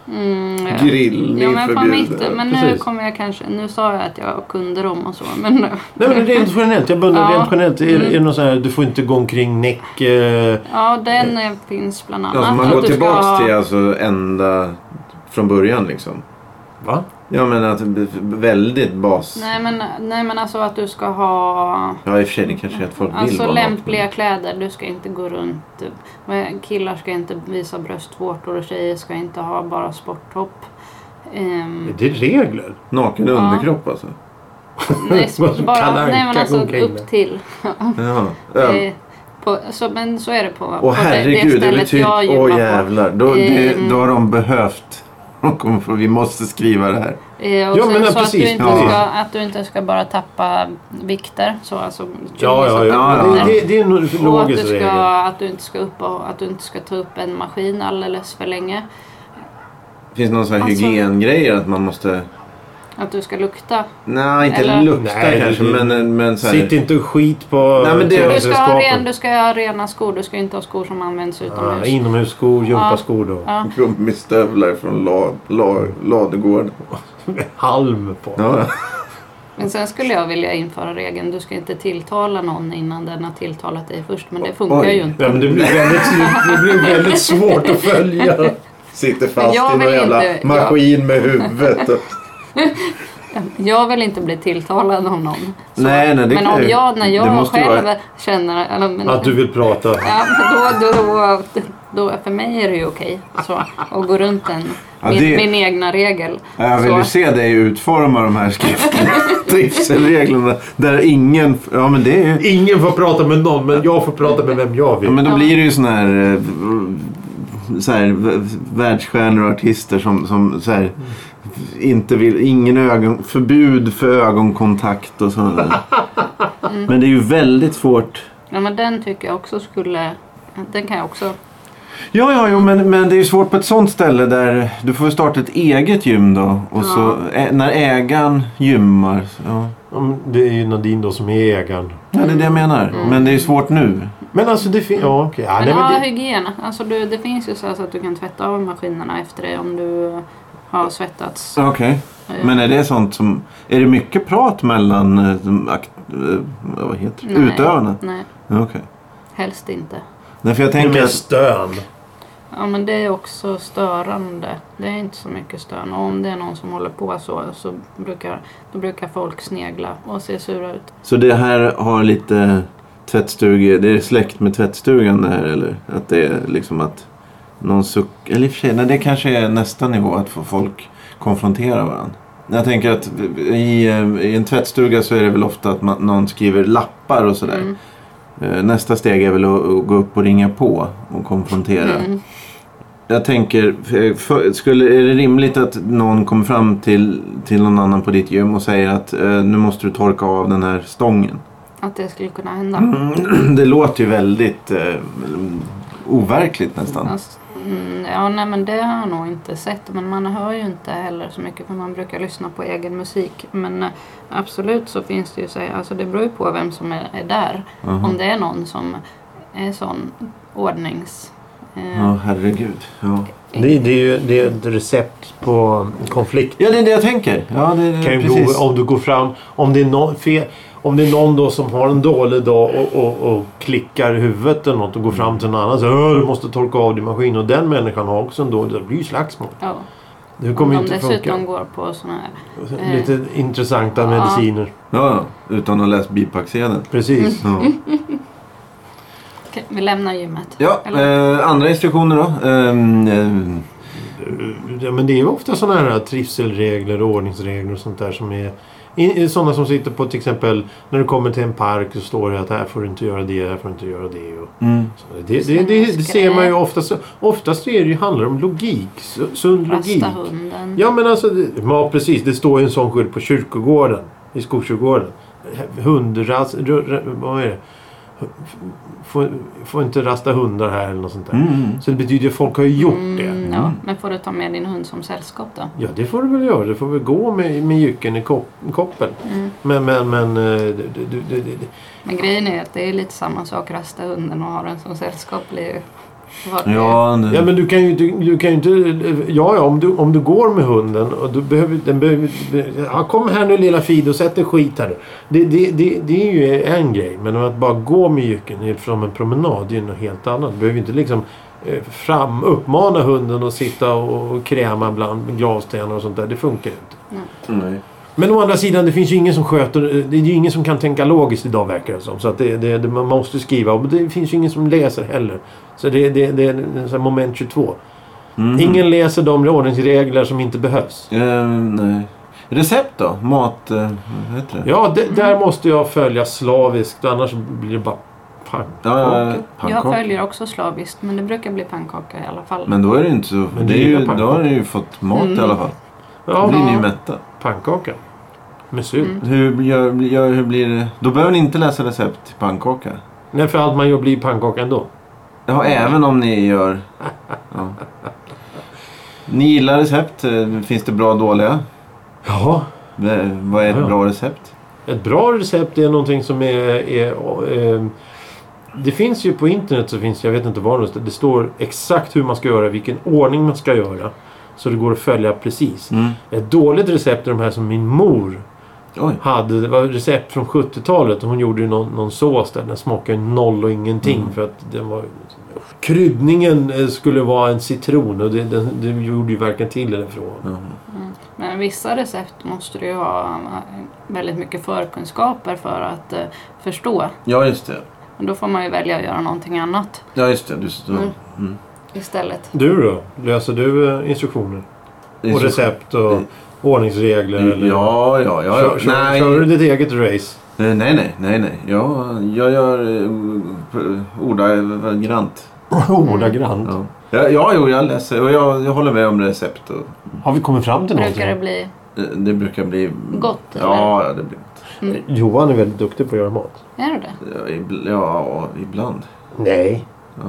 Speaker 2: Mm, ja.
Speaker 1: Grillning
Speaker 2: Ja, men fan
Speaker 1: förbjuden.
Speaker 2: inte. Men nu
Speaker 3: Precis.
Speaker 2: kommer jag kanske... Nu sa jag att jag kunde dem och så, men nu...
Speaker 3: Nej men rent generellt, jag undrar
Speaker 2: Ja.
Speaker 3: rent generellt. Är,
Speaker 2: Mm.
Speaker 3: är det någon sån här, du får inte gå omkring näck... Eh,
Speaker 2: Ja, den eh, finns bland annat.
Speaker 1: Ja, så man
Speaker 2: Att
Speaker 1: går
Speaker 2: du ska
Speaker 1: tillbaks
Speaker 2: ha-
Speaker 1: till alltså ända från början liksom.
Speaker 3: va?
Speaker 1: Ja, men att väldigt bas.
Speaker 2: Nej men, nej, men alltså att du ska ha...
Speaker 1: Ja, i och för sig, det kanske är att folk vill
Speaker 2: Alltså
Speaker 1: vara nakna.
Speaker 2: lämpliga kläder. Du ska inte gå runt... men Killar ska inte visa bröstvårtor och tjejer ska inte ha bara sporttopp. Ehm,
Speaker 3: Är det regler?
Speaker 1: Naken
Speaker 2: Ja.
Speaker 1: underkropp alltså.
Speaker 2: nej, så
Speaker 3: Vad
Speaker 2: bara,
Speaker 3: Kalle
Speaker 2: nej men
Speaker 3: Anka
Speaker 2: alltså
Speaker 3: omkring
Speaker 2: upp
Speaker 3: med.
Speaker 2: till.
Speaker 1: Jaha.
Speaker 2: Eh, på, så, men så är det på, på
Speaker 1: Åh herregud, det, betyder... Åh jävlar. Då, det,
Speaker 2: Ehm.
Speaker 1: då har de behövt... De kommer få, vi måste skriva det här.
Speaker 2: Eh, och
Speaker 3: Ja,
Speaker 2: sen
Speaker 3: men, ja,
Speaker 2: så att, du
Speaker 3: precis,
Speaker 2: inte
Speaker 1: precis.
Speaker 2: ska, att du inte ska bara tappa vikter. Så, alltså,
Speaker 3: Ja, ja,
Speaker 1: Ja,
Speaker 3: ja.
Speaker 1: ja.
Speaker 3: Det, det, det är en
Speaker 2: Och att du,
Speaker 3: logisk
Speaker 2: ska,
Speaker 3: regel.
Speaker 2: att, du inte ska upp och, att du inte ska ta upp en maskin alldeles för länge.
Speaker 1: Finns det någon sån här
Speaker 2: Alltså-
Speaker 1: hygiengrejer att man måste...
Speaker 2: Att du ska lukta.
Speaker 1: Nej, inte
Speaker 2: Eller-
Speaker 1: lukta
Speaker 3: Nej,
Speaker 1: kanske,
Speaker 3: det-
Speaker 1: men, men så här...
Speaker 3: Sitt inte och skit på
Speaker 1: Nej, men det-
Speaker 2: Du ska, ha ren,
Speaker 3: toalettredskapen.
Speaker 2: du ska ha rena skor. Du ska inte ha skor som används
Speaker 3: Ja,
Speaker 2: utomhus.
Speaker 3: inomhusskor, gympaskor då.
Speaker 2: Ja.
Speaker 1: Gummistövlar från la, la, ladugården.
Speaker 3: Halm på.
Speaker 1: Ja.
Speaker 2: Men sen skulle jag vilja införa regeln du ska inte tilltala någon innan den har tilltalat dig först. Men det funkar
Speaker 1: Oj.
Speaker 2: ju inte.
Speaker 3: Nej, men det blir väldigt, det blir väldigt svårt att följa.
Speaker 1: Sitter
Speaker 2: Men jag vill inte- jag-
Speaker 1: med huvudet. Och...
Speaker 2: Jag vill inte bli tilltalad av någon. Så.
Speaker 1: Nej, nej, det
Speaker 2: men
Speaker 1: kan
Speaker 2: om
Speaker 1: ju-
Speaker 2: jag, när
Speaker 1: det
Speaker 2: jag
Speaker 1: måste ju
Speaker 2: själv
Speaker 1: vara-
Speaker 2: känner... Eller, men,
Speaker 3: Att du vill prata.
Speaker 2: Ja, men då, då, då, då, för mig är det ju okej så, att gå runt en,
Speaker 1: Ja,
Speaker 2: min,
Speaker 1: det-
Speaker 2: min egna regel.
Speaker 1: Jag vill ju
Speaker 2: så,
Speaker 1: se dig utforma de här skrifterna, trivselreglerna, där ingen... Ja, men det är ju...
Speaker 3: Ingen får prata med någon, men jag får prata med vem jag
Speaker 1: Ja,
Speaker 3: vill.
Speaker 1: men då blir det ju såna här, eh, så här v- världsstjärnor och artister som, som så här, inte vill, ingen ögon, förbud för ögonkontakt och sådana där.
Speaker 2: Mm.
Speaker 1: Men det är ju väldigt svårt.
Speaker 2: ja, men den tycker jag också skulle... Den kan jag också...
Speaker 1: Ja, ja, jo, men, men det är ju svårt på ett sånt ställe där du får starta ett eget gym då. Och så ä, när ägaren gymmar. så- Ja.
Speaker 3: Mm, Det är ju Nadine då som är ägaren.
Speaker 1: ja, det är det jag menar. Men det är ju svårt nu.
Speaker 3: Men alltså det finns... Ja, okej. Ja,
Speaker 2: Men,
Speaker 3: nej, men
Speaker 2: ja,
Speaker 3: det,
Speaker 2: hygien. Alltså, du, det finns ju så, här så att du kan tvätta av maskinerna efter dig om du har svettats.
Speaker 1: Okej. Men är det sånt som... Är det mycket prat mellan eh, de akt, eh, vad heter det?
Speaker 2: Nej.
Speaker 1: utövarna?
Speaker 2: Nej,
Speaker 1: Okej.
Speaker 2: helst inte.
Speaker 1: Nej, för jag
Speaker 3: det är
Speaker 1: tänker
Speaker 3: mer
Speaker 1: att
Speaker 3: stön.
Speaker 2: Ja men det är också störande. Det är inte så mycket störande. Och om det är någon som håller på så, så brukar, då brukar folk snegla och se sura ut.
Speaker 1: Så det här har lite tvättstuge... Det är släkt med tvättstugan det här eller? Att det är liksom att någon suck... Eller i och för sig, nej, det kanske är nästa nivå att få folk konfrontera varandra. Jag tänker att i, eh, i en tvättstuga så är det väl ofta att man, någon skriver lappar och sådär.
Speaker 2: Mm.
Speaker 1: Eh, Nästa steg är väl att att gå upp och ringa på och konfrontera.
Speaker 2: Mm.
Speaker 1: Jag tänker, för- för, skulle, är det rimligt att någon kommer fram till, till någon annan på ditt gym och säger att eh, nu måste du torka av den här stången?
Speaker 2: Att det skulle kunna hända.
Speaker 1: Mm, Det låter ju väldigt eh, overkligt nästan.
Speaker 2: Alltså, mm, ja, nej men det har jag nog inte sett. Men man hör ju inte heller så mycket för man brukar lyssna på egen musik. Men eh, absolut så finns det ju så här, alltså det beror ju på vem som är, är där.
Speaker 1: Mhm.
Speaker 3: Mm.
Speaker 2: Om det är någon som är sån ordnings... eh,
Speaker 1: Ja, herregud. Ja.
Speaker 3: Det, det är ju det är ett recept på konflikt.
Speaker 1: ja, det är det jag tänker. Ja, det, det,
Speaker 3: Kan ju
Speaker 1: precis.
Speaker 3: gå, om du går fram... Om det är någon, fe, om det är någon då som har en dålig dag och, och, och klickar i huvudet eller något och går fram till någon annan och säger "Åh, du måste torka av din maskin och den människan har också en dålig dag. Det blir ju slagsmål.
Speaker 2: Ja.
Speaker 3: Det
Speaker 2: Om
Speaker 3: kommer ju
Speaker 2: de
Speaker 3: inte
Speaker 2: dessutom
Speaker 3: funka.
Speaker 2: går på såna här... eh,
Speaker 3: Lite intressanta
Speaker 2: ja.
Speaker 3: mediciner.
Speaker 1: Ja, ja, utan att läsa bipacksedeln.
Speaker 3: Precis.
Speaker 1: Ja.
Speaker 2: Mm. Okej, vi lämnar gymmet.
Speaker 1: Ja, eh, andra instruktioner då? Ehm, eh,
Speaker 2: Mm.
Speaker 3: Ja, men det är ju ofta sådana här trivselregler och ordningsregler och sånt där som är i- i- sådana som sitter på till exempel när du kommer till en park så står det att här får du inte göra det, här får du inte göra det. Och
Speaker 1: mm.
Speaker 3: så. det, det, det, det ser man ju oftast. Oftast är det ju, handlar det om logik. su- Sund logik.
Speaker 2: Rasta hunden.
Speaker 3: Ja men alltså, det- ja precis. Det står ju en sån skylt på kyrkogården. I Skogskyrkogården. Hundras... ru- ru- Vad är det? Får, får inte rasta hundar här eller något sånt där.
Speaker 1: Mm.
Speaker 3: Så det betyder ju att folk har ju gjort det.
Speaker 2: Mm, ja. Men får du ta med din hund som sällskap då?
Speaker 3: Ja, det får du väl göra. Du får väl gå med, med jycken i kop, koppen.
Speaker 2: Mm.
Speaker 3: Men, men, men... eh, Du, du, du, du, du.
Speaker 2: Men grejen är att det är lite samma sak. Rasta hunden och ha den som sällskap blir ju... vad-
Speaker 1: Ja, det,
Speaker 3: Ja, men du kan ju, du, du kan ju inte... Ja, ja, om du, om du går med hunden och du behöver... Den behöver ja, kom här nu lilla Fido, sätt dig skit här nu. Det, det, det, det är ju en grej. Men att bara gå med jycken från en promenad, det är ju något helt annat. Du behöver ju inte liksom eh, fram, uppmana hunden att sitta och kräma bland glasstenar och sånt där. Det funkar ju inte.
Speaker 1: Mm, Nej.
Speaker 3: Men å andra sidan, det finns ju ingen som sköter... eh, Det är ju ingen som kan tänka logiskt idag verkar det som. Så att det, det, det, man måste skriva. Och det finns ju ingen som läser heller. Så det, det, det är en sån här moment 22.
Speaker 1: Mm.
Speaker 3: Ingen läser de ordningsregler som inte behövs.
Speaker 1: Ehm, nej. Recept då? Mat... eh, vad heter det?
Speaker 3: Ja, det, där måste jag följa slaviskt. Annars blir det bara pannkaka.
Speaker 1: Ja, eh,
Speaker 2: Jag
Speaker 1: pannkakor.
Speaker 2: följer också slaviskt men det brukar bli pannkaka i alla fall.
Speaker 1: Men då är det inte så...
Speaker 3: Men
Speaker 1: det
Speaker 3: det
Speaker 1: är
Speaker 3: är
Speaker 1: ju,
Speaker 3: ju pannkakor.
Speaker 1: då har ni ju fått mat i
Speaker 2: Mm.
Speaker 1: alla fall. Då
Speaker 3: Ja,
Speaker 1: blir ni ju
Speaker 2: Ja.
Speaker 1: mätta.
Speaker 3: pannkaka. Med surt.
Speaker 2: Mm.
Speaker 1: Hur, gör, gör, hur blir det? Då behöver ni inte läsa recept till pannkaka.
Speaker 3: Nej, för allt man gör blir pannkaka ändå.
Speaker 1: Ja, även om ni gör... Ja. Ni gillar recept. eh, Finns det bra och dåliga?
Speaker 3: Jaha.
Speaker 1: V- Vad är
Speaker 3: Ja,
Speaker 1: ett
Speaker 3: ja.
Speaker 1: bra recept?
Speaker 3: Ett bra recept är någonting som är... är, eh, det finns ju på internet så finns jag vet inte var någonstans. Det står exakt hur man ska göra, vilken ordning man ska göra. Så det går att följa precis.
Speaker 1: Mm.
Speaker 3: Ett dåligt recept är de här som min mor
Speaker 1: Oj.
Speaker 3: hade. Det var ett recept från 70-talet. och Hon gjorde ju någon, någon sås där. Den smakade ju noll och ingenting. För att den var... Kryddningen eh, skulle vara en citron och det, den, det gjorde ju varken till eller från.
Speaker 1: Ja.
Speaker 2: Mm. Men vissa recept måste du ju ha eh, väldigt mycket förkunskaper för att eh, förstå.
Speaker 1: Ja, just det.
Speaker 2: Men då får man ju välja att göra någonting annat
Speaker 1: Ja, just det. Du, du,
Speaker 2: Mm.
Speaker 1: mm.
Speaker 2: istället.
Speaker 3: Du då? Löser du eh, instruktioner?
Speaker 1: Det är
Speaker 3: Och
Speaker 1: så-
Speaker 3: recept och
Speaker 1: Mm.
Speaker 3: ordningsregler? Eller?
Speaker 1: Ja, ja, ja. ja.
Speaker 3: Kör, kör, kör du ditt eget race?
Speaker 1: Eh, Nej, nej, nej, nej. Jag, jag gör eh, p- ordagrant.
Speaker 3: Oh, Ordagrant.
Speaker 1: Ja, ja, ja jo, jag läser och jag, jag håller med om recept. Och,
Speaker 3: Har vi kommit fram till
Speaker 2: Brukar det
Speaker 3: någonting?
Speaker 2: bli...
Speaker 1: eh, det brukar bli...
Speaker 2: Gott,
Speaker 1: Ja, ja det blir gott.
Speaker 3: Johan är väldigt duktig på att göra mat.
Speaker 2: Är det det?
Speaker 1: Ja, ibl- ja, ibland.
Speaker 3: Nej.
Speaker 1: Ja,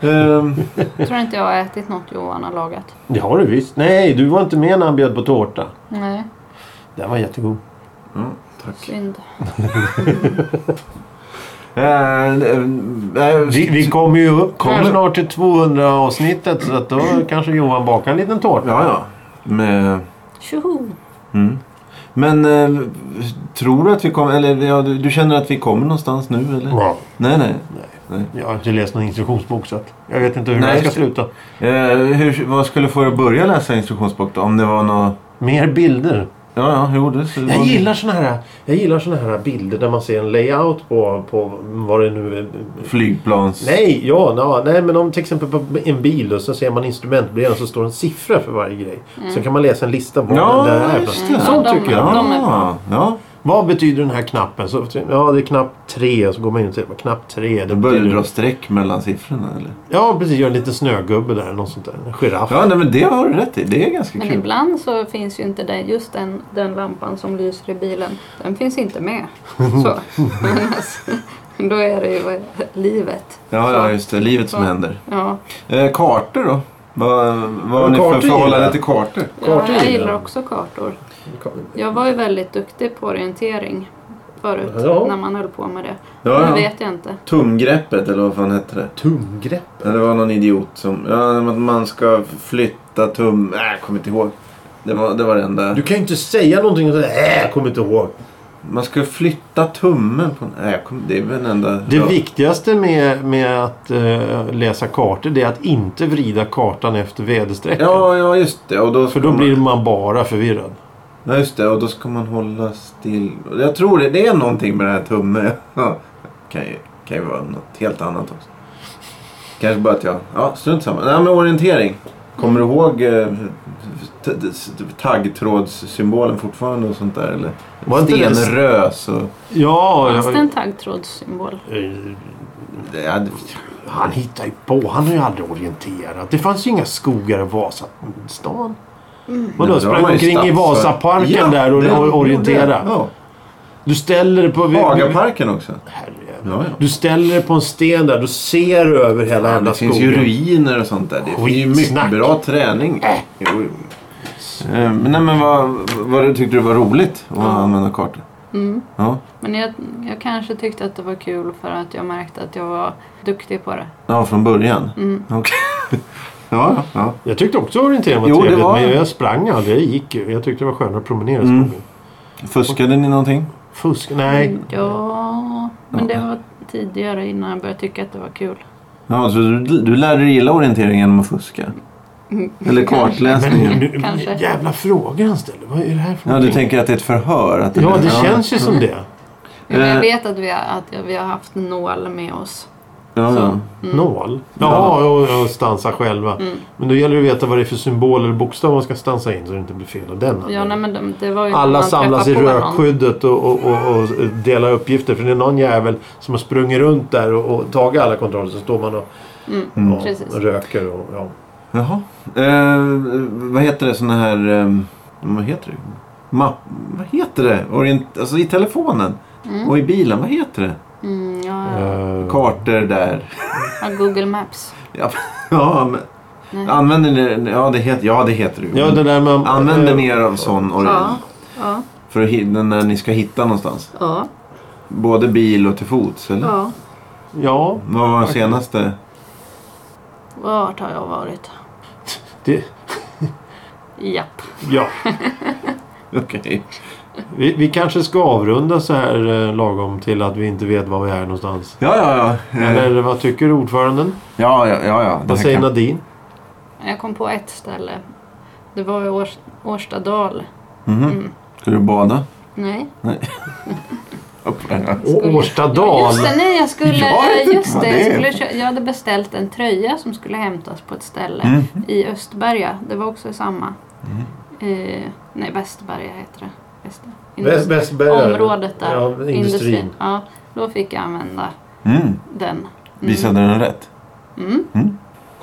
Speaker 1: ja. Ehm,
Speaker 2: Jag tror inte jag har ätit något Johan har lagat.
Speaker 3: Det har du visst. Nej, du var inte med när han bjöd på tårta.
Speaker 2: Nej,
Speaker 3: Den var jättegod.
Speaker 1: ja, tack.
Speaker 2: synd.
Speaker 1: Eh, eh, eh,
Speaker 3: Vi, vi kommer ju upp kommer
Speaker 1: Kommer.
Speaker 3: snart till 200 avsnittet så att då kanske Johan bakar en liten tårta.
Speaker 1: Ja, ja. Med,
Speaker 2: Tjoho!
Speaker 1: mm. Men eh, tror du att vi kommer... Eller ja, du, du känner att vi kommer någonstans nu eller?
Speaker 3: Ja.
Speaker 1: Nej, nej.
Speaker 3: Jag har inte läst någon instruktionsbok så att jag vet inte hur
Speaker 1: Nej,
Speaker 3: jag ska
Speaker 1: just det.
Speaker 3: sluta.
Speaker 1: Eh, hur, vad skulle få dig att börja läsa instruktionsbok då? Om det var något...
Speaker 3: Mer bilder. Mm.
Speaker 1: Ja, ja, jo, det... så-
Speaker 3: Jag gillar såna här, jag gillar såna här bilder där man ser en layout på, på vad det nu är.
Speaker 1: Flygplans...
Speaker 3: Nej, ja, na, nej, men om till exempel på en bil och så ser man instrumentbrädan så står det en siffra för varje grej. Så kan man läsa en lista på
Speaker 1: Ja,
Speaker 3: vad den där är.
Speaker 1: just
Speaker 3: för
Speaker 1: det.
Speaker 3: något. Mm. Sånt
Speaker 2: Ja, de-
Speaker 3: tycker jag.
Speaker 2: de-
Speaker 1: Ja, ja.
Speaker 3: Vad betyder den här knappen? Så, ja, det är knapp tre. Så går man in och säger knapp tre. Det
Speaker 1: Då börjar du
Speaker 3: betyder-
Speaker 1: dra streck mellan siffrorna eller?
Speaker 3: Ja, precis. Gör en liten snögubbe där. Något sånt där. En giraff.
Speaker 1: Ja, nej, men det har du rätt i. Det är ganska
Speaker 2: Men
Speaker 1: kul.
Speaker 2: ibland så finns ju inte det, just den, den lampan som lyser i bilen, den finns inte med. Så. Men alltså, då är det ju livet.
Speaker 1: Ja, ja, just det. Livet som
Speaker 2: Ja.
Speaker 1: händer.
Speaker 2: Ja.
Speaker 1: Eh, kartor då? Vad, vad har
Speaker 3: Ja,
Speaker 1: ni för
Speaker 3: kartor gillar
Speaker 1: förhållande
Speaker 3: jag.
Speaker 1: till kartor?
Speaker 2: Ja,
Speaker 3: Kartor
Speaker 2: jag
Speaker 3: gillar
Speaker 2: gillar
Speaker 3: jag.
Speaker 2: också kartor. Jag var ju väldigt duktig på orientering förut
Speaker 3: Ja.
Speaker 2: när man höll på med det.
Speaker 1: Ja,
Speaker 2: Nu
Speaker 1: ja.
Speaker 2: vet jag inte.
Speaker 1: Tumgreppet eller vad fan hette det?
Speaker 3: Tunggrepp.
Speaker 1: Ja, det var någon idiot som... Ja, att man ska flytta tum... Nej, jag kommer inte ihåg. Det var, det var det enda.
Speaker 3: Du kan ju inte säga någonting och säga äh, jag kommer inte ihåg.
Speaker 1: Man ska flytta tummen på... Nej, jag kommer... det är väl den enda...
Speaker 3: Det
Speaker 1: ja.
Speaker 3: viktigaste med, med att eh, läsa kartor det är att inte vrida kartan efter väderstrecken.
Speaker 1: Ja, ja, just det. Och då
Speaker 3: För
Speaker 1: ska
Speaker 3: då
Speaker 1: man-
Speaker 3: blir man bara förvirrad.
Speaker 1: Ja, just det. Och då ska man hålla still. Jag tror det, det är någonting med den här tummen. Ja. Kan ju, kan ju vara något helt annat också. Kanske bara att jag... Ja, strunt samma. Nej, men orientering. Kommer du ihåg eh, t- t- t- taggtrådssymbolen fortfarande och sånt där? Eller
Speaker 3: Var inte det-
Speaker 1: stenrös och...
Speaker 3: Ja,
Speaker 2: Fanns det
Speaker 3: jag,
Speaker 2: en taggtrådssymbol?
Speaker 3: eh,
Speaker 1: Det- Ja, det-
Speaker 3: han hittar ju på. Han har ju aldrig orienterat. Det fanns ju inga skogar i Vasastan.
Speaker 1: Men då
Speaker 3: Vadå, sprang
Speaker 1: har man ju
Speaker 3: omkring i
Speaker 1: stadsför-
Speaker 3: Vasaparken
Speaker 1: Ja,
Speaker 3: där och
Speaker 1: det-
Speaker 3: och orientera.
Speaker 1: Ja.
Speaker 3: Du ställer dig på...
Speaker 1: Hagaparken också.
Speaker 3: Herre.
Speaker 1: Ja, ja.
Speaker 3: Du ställer dig på en sten där. Du ser över hela
Speaker 1: Ja,
Speaker 3: jävla
Speaker 1: det finns
Speaker 3: skogen.
Speaker 1: ju ruiner och sånt där. Det finns ju mycket
Speaker 3: Skitsnack. Äh.
Speaker 1: bra träning. Jo, jo. Eh, Men, nej, men vad, vad tyckte du var roligt att använda kartor?
Speaker 2: Mm.
Speaker 1: Ja.
Speaker 2: Men jag, jag kanske tyckte att det var kul för att jag märkte att jag var duktig på det.
Speaker 1: ja, från början?
Speaker 2: Mm.
Speaker 1: Okej. ja, ja.
Speaker 3: Jag tyckte också orientering var
Speaker 1: Jo, det
Speaker 3: trevligt.
Speaker 1: var-
Speaker 3: Men jag sprang aldrig. Jag gick ju. Jag tyckte det var skönare att promenera i
Speaker 1: Mm.
Speaker 3: skogen.
Speaker 1: Fuskade ni någonting?
Speaker 3: Fusk? Nej.
Speaker 2: Ja, men det var tidigare innan jag började tycka att det var kul.
Speaker 1: Ja, så du, du lärde dig gilla orienteringen genom att fuska?
Speaker 3: Mm.
Speaker 1: Eller
Speaker 3: Men
Speaker 1: kartläsningen?
Speaker 3: nu,
Speaker 2: Kanske.
Speaker 3: jävla frågor han ställer. Vad är det här för
Speaker 1: Ja, du
Speaker 3: någonting?
Speaker 1: tänker Mm. att det är ett förhör? Att
Speaker 3: Ja, det känns ju som det.
Speaker 2: Men jag
Speaker 1: Eh.
Speaker 2: vet att vi, har, att vi har haft nål med oss.
Speaker 1: Ja, ja.
Speaker 2: så.
Speaker 3: Nål? Jaha, och, och stansa själva.
Speaker 2: Mm.
Speaker 3: Men då gäller det att veta vad det är för symbol eller bokstav man ska stansa in så det inte blir fel av den.
Speaker 2: Ja, nej, men det, det var ju när
Speaker 3: Alla
Speaker 2: man
Speaker 3: samlas i
Speaker 2: träffar på någon.
Speaker 3: rökskyddet och, och, och, och delar uppgifter. För det är någon jävel som har sprungit runt där och, och tagit alla kontroller. Så står man och,
Speaker 2: Mm,
Speaker 3: och,
Speaker 2: precis.
Speaker 3: röker. Och, ja.
Speaker 1: Jaha. Eh, vad heter det såna här... Eh, vad heter det? Mapp... Vad heter det? Orient... Alltså i telefonen. Och i bilen. Vad heter det?
Speaker 2: Mm, ja, ja.
Speaker 3: Eh,
Speaker 1: Kartor där.
Speaker 2: ja, Google Maps.
Speaker 1: Ja, ja men...
Speaker 2: Nej.
Speaker 1: Använder ni... Ja, det heter, ja, det, heter det ju.
Speaker 3: ja, det där med...
Speaker 1: Använder
Speaker 3: eh,
Speaker 1: ni er av sån
Speaker 2: Ja,
Speaker 1: orient?
Speaker 2: ja,
Speaker 1: För att hitta när ni ska hitta någonstans?
Speaker 2: ja,
Speaker 1: Både bil och till fots, eller?
Speaker 2: ja.
Speaker 3: Ja,
Speaker 1: Vad var den senaste?
Speaker 2: Vart har jag varit?
Speaker 3: det,
Speaker 2: Japp.
Speaker 3: ja.
Speaker 1: Okej.
Speaker 3: Vi, vi kanske ska avrunda så här eh, lagom till att vi inte vet var vi är någonstans.
Speaker 1: Ja, ja, ja. Eh,
Speaker 3: Eller vad tycker ordföranden?
Speaker 1: Ja, ja, ja. ja. Det
Speaker 3: Vad
Speaker 1: här
Speaker 3: säger
Speaker 1: kan-
Speaker 3: Nadine?
Speaker 2: Jag kom på ett ställe. Det var i Års, Årstadal.
Speaker 1: Mhm.
Speaker 2: Mm.
Speaker 1: Ska du bada?
Speaker 2: Nej.
Speaker 1: Upp, ja.
Speaker 3: Å-
Speaker 2: Skulle-
Speaker 3: Årstadal.
Speaker 2: Just det, nej jag skulle...
Speaker 1: Jag vet inte
Speaker 2: just
Speaker 1: vad
Speaker 2: det,
Speaker 1: det
Speaker 2: jag,
Speaker 1: är.
Speaker 2: skulle, kö- jag hade beställt en tröja som skulle hämtas på ett ställe
Speaker 1: Mm.
Speaker 2: i Östberga. Det var också samma.
Speaker 3: Mm.
Speaker 2: Eh, nej, Västberga heter det. Väster-
Speaker 3: Väst-
Speaker 2: industri-
Speaker 3: Västberga.
Speaker 2: Området där.
Speaker 3: Ja,
Speaker 2: Industrin.
Speaker 3: industrin.
Speaker 2: Ja, då fick jag använda
Speaker 1: Mm.
Speaker 2: den. Mm.
Speaker 1: Visade den rätt?
Speaker 2: Mm.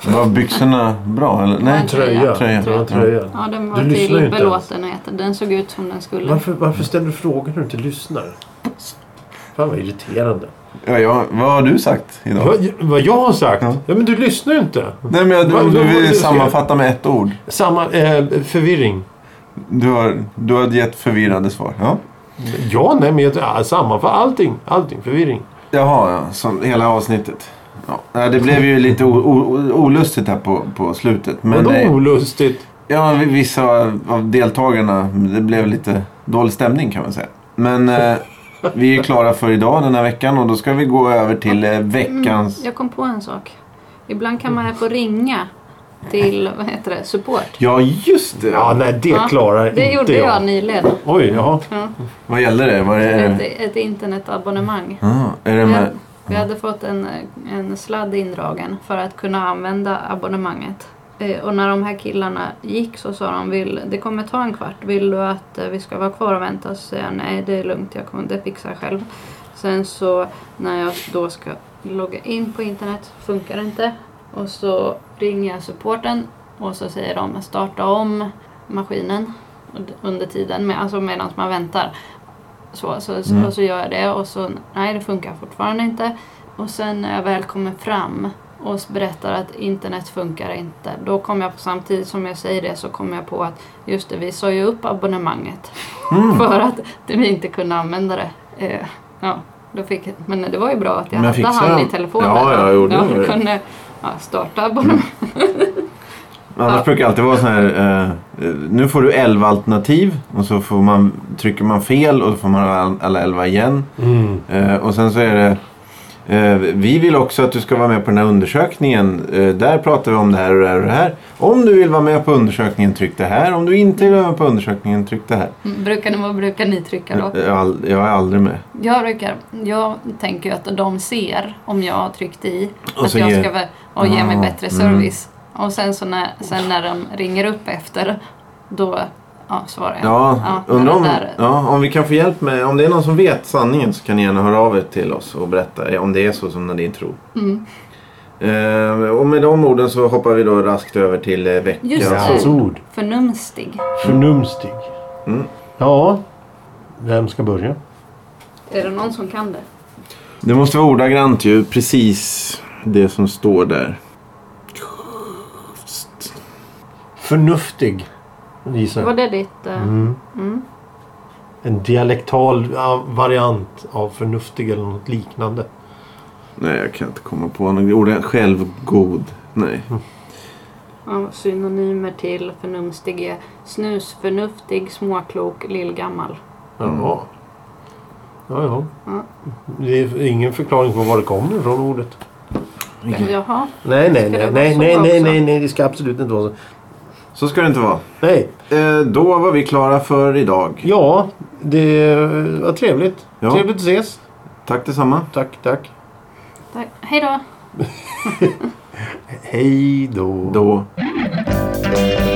Speaker 1: Var byxorna bra? Eller? Nej.
Speaker 3: Tröja.
Speaker 1: Tröja.
Speaker 3: Det var en tröja.
Speaker 2: Ja, den var
Speaker 3: Du lyssnar ju
Speaker 2: till
Speaker 3: inte
Speaker 2: belåtenhet. Den såg ut som den skulle.
Speaker 3: Varför, varför ställer du frågor när du inte lyssnar? Fan vad irriterande.
Speaker 1: Ja, ja, vad har du sagt idag?
Speaker 3: Vad, vad jag har sagt?
Speaker 1: Ja.
Speaker 3: Ja. men du lyssnar ju inte.
Speaker 1: Nej, men jag,
Speaker 3: Vad-
Speaker 1: om du
Speaker 3: vad var det du
Speaker 1: vill
Speaker 3: sa?
Speaker 1: sammanfatta med ett ord.
Speaker 3: Samma eh, förvirring.
Speaker 1: Du har, du har gett förvirrande svar. Ja.
Speaker 3: Ja, nej, men jag, ja, samma för allting. Allting. Förvirring.
Speaker 1: Jaha, ja. Som hela avsnittet. Ja. Nej, Det blev ju lite o, o, olustigt här på, på slutet. Men
Speaker 3: Vadå
Speaker 1: eh,
Speaker 3: olustigt?
Speaker 1: ja, vissa av deltagarna, det blev lite... dålig stämning kan man säga. Men eh, vi är klara för idag den här veckan och då ska vi gå över till eh, veckans...
Speaker 2: Mm, Jag kom på en sak. Ibland kan man få ringa till, vad heter det, support.
Speaker 1: Ja, just det!
Speaker 3: Ja, nej det
Speaker 2: Ja,
Speaker 3: klarar
Speaker 2: Det
Speaker 3: inte
Speaker 2: gjorde
Speaker 3: jag. Eh.
Speaker 2: jag nyligen.
Speaker 3: Oj, ja.
Speaker 2: Ja,
Speaker 1: Vad gäller det? Vad är
Speaker 2: ett,
Speaker 1: det?
Speaker 2: ett internetabonnemang.
Speaker 1: Ah, är det med... Mm.
Speaker 2: Vi hade fått en, en sladd indragen för att kunna använda abonnemanget. Eh, Och när de här killarna gick så sa de vill, det kommer ta en kvart, vill du att eh, vi ska vara kvar och vänta? Så säger jag nej det är lugnt, jag kommer, det fixar jag själv. Sen så när jag då ska logga in på internet funkar det inte. Och så ringer jag supporten och så säger de starta om maskinen und- under tiden, med, alltså medan man väntar. Så, så, så,
Speaker 1: Mm.
Speaker 2: och så gör jag det och så nej det funkar fortfarande inte. Och sen när jag väl kommer fram och s- berättar att internet funkar inte. Då kommer jag på samtidigt som jag säger det så kommer jag på att just det, vi sa ju upp abonnemanget.
Speaker 1: Mm.
Speaker 2: För att vi inte kunde använda det. Eh, ja, då fick, men det var ju bra att jag
Speaker 1: Men
Speaker 2: hade
Speaker 1: fixade
Speaker 2: han i
Speaker 1: han?
Speaker 2: telefonen.
Speaker 1: Ja, ja, jo, det
Speaker 2: jag
Speaker 1: var det.
Speaker 2: kunde ja, starta abonnemanget.
Speaker 1: Annars
Speaker 2: Ja.
Speaker 1: brukar det alltid vara så här... eh, eh, nu får du 11 alternativ och så får man, trycker man fel och då får man all- alla 11 igen.
Speaker 3: Mm.
Speaker 1: Eh, och sen så är det... Eh, vi vill också att du ska vara med på den här undersökningen. Eh, där pratar vi om det här och det här och det här. Om du vill vara med på undersökningen, tryck det här. Om du inte vill vara med på undersökningen, tryck det här.
Speaker 2: Mm, Brukar ni, vad brukar ni trycka då?
Speaker 1: Eh, Jag, är all- jag är aldrig med.
Speaker 2: Jag brukar, jag tänker ju att de ser om jag har tryckt i
Speaker 1: Och
Speaker 2: att
Speaker 1: så
Speaker 2: jag
Speaker 1: ger-
Speaker 2: ska vä- och ge mig
Speaker 1: Ah,
Speaker 2: bättre service. Och sen så när, sen när de ringer upp efter, då ja, svarar jag.
Speaker 1: Ja,
Speaker 2: Ja,
Speaker 1: undrar
Speaker 2: det
Speaker 1: om,
Speaker 2: där-
Speaker 1: ja, om vi kan få hjälp med... Om det är någon som vet sanningen så kan ni gärna höra av er till oss och berätta eh, om det är så som Nadine tror.
Speaker 2: Mm.
Speaker 1: Eh, och med de orden så hoppar vi då raskt över till eh, veckans
Speaker 2: Just det.
Speaker 1: ord.
Speaker 3: Hans ord.
Speaker 2: Förnumstig.
Speaker 3: Förnumstig.
Speaker 1: Mm.
Speaker 3: Ja. Vem ska börja?
Speaker 2: Är det någon som kan det?
Speaker 1: Det måste vara ordagrant ju. Precis det som står där.
Speaker 3: Förnuftig. Gissar
Speaker 2: Var
Speaker 3: jag.
Speaker 2: det ditt... eh,
Speaker 3: Mm.
Speaker 2: Mm.
Speaker 3: En dialektal ja, variant av förnuftig eller något liknande.
Speaker 1: Nej, jag kan inte komma på något. Ordet självgod. Nej.
Speaker 2: Ja, synonymer till förnumstig är snusförnuftig, småklok, lillgammal.
Speaker 3: Jaha. Ja, ja.
Speaker 2: Ja.
Speaker 3: Det är ingen förklaring på var det kommer ifrån ordet.
Speaker 2: Jaha,
Speaker 3: Nej, nej,
Speaker 2: Ska
Speaker 3: nej,
Speaker 2: det vara
Speaker 3: nej, nej,
Speaker 2: så
Speaker 3: nej,
Speaker 2: också?
Speaker 3: nej, nej, det ska absolut inte vara så.
Speaker 1: Så ska det inte vara.
Speaker 3: Nej,
Speaker 1: Eh, då var vi klara för idag.
Speaker 3: ja, det var trevligt.
Speaker 1: Ja.
Speaker 3: Trevligt att ses.
Speaker 1: Tack detsamma.
Speaker 3: Tack, tack.
Speaker 2: tack. Hej då!
Speaker 3: Hej då.
Speaker 1: Då.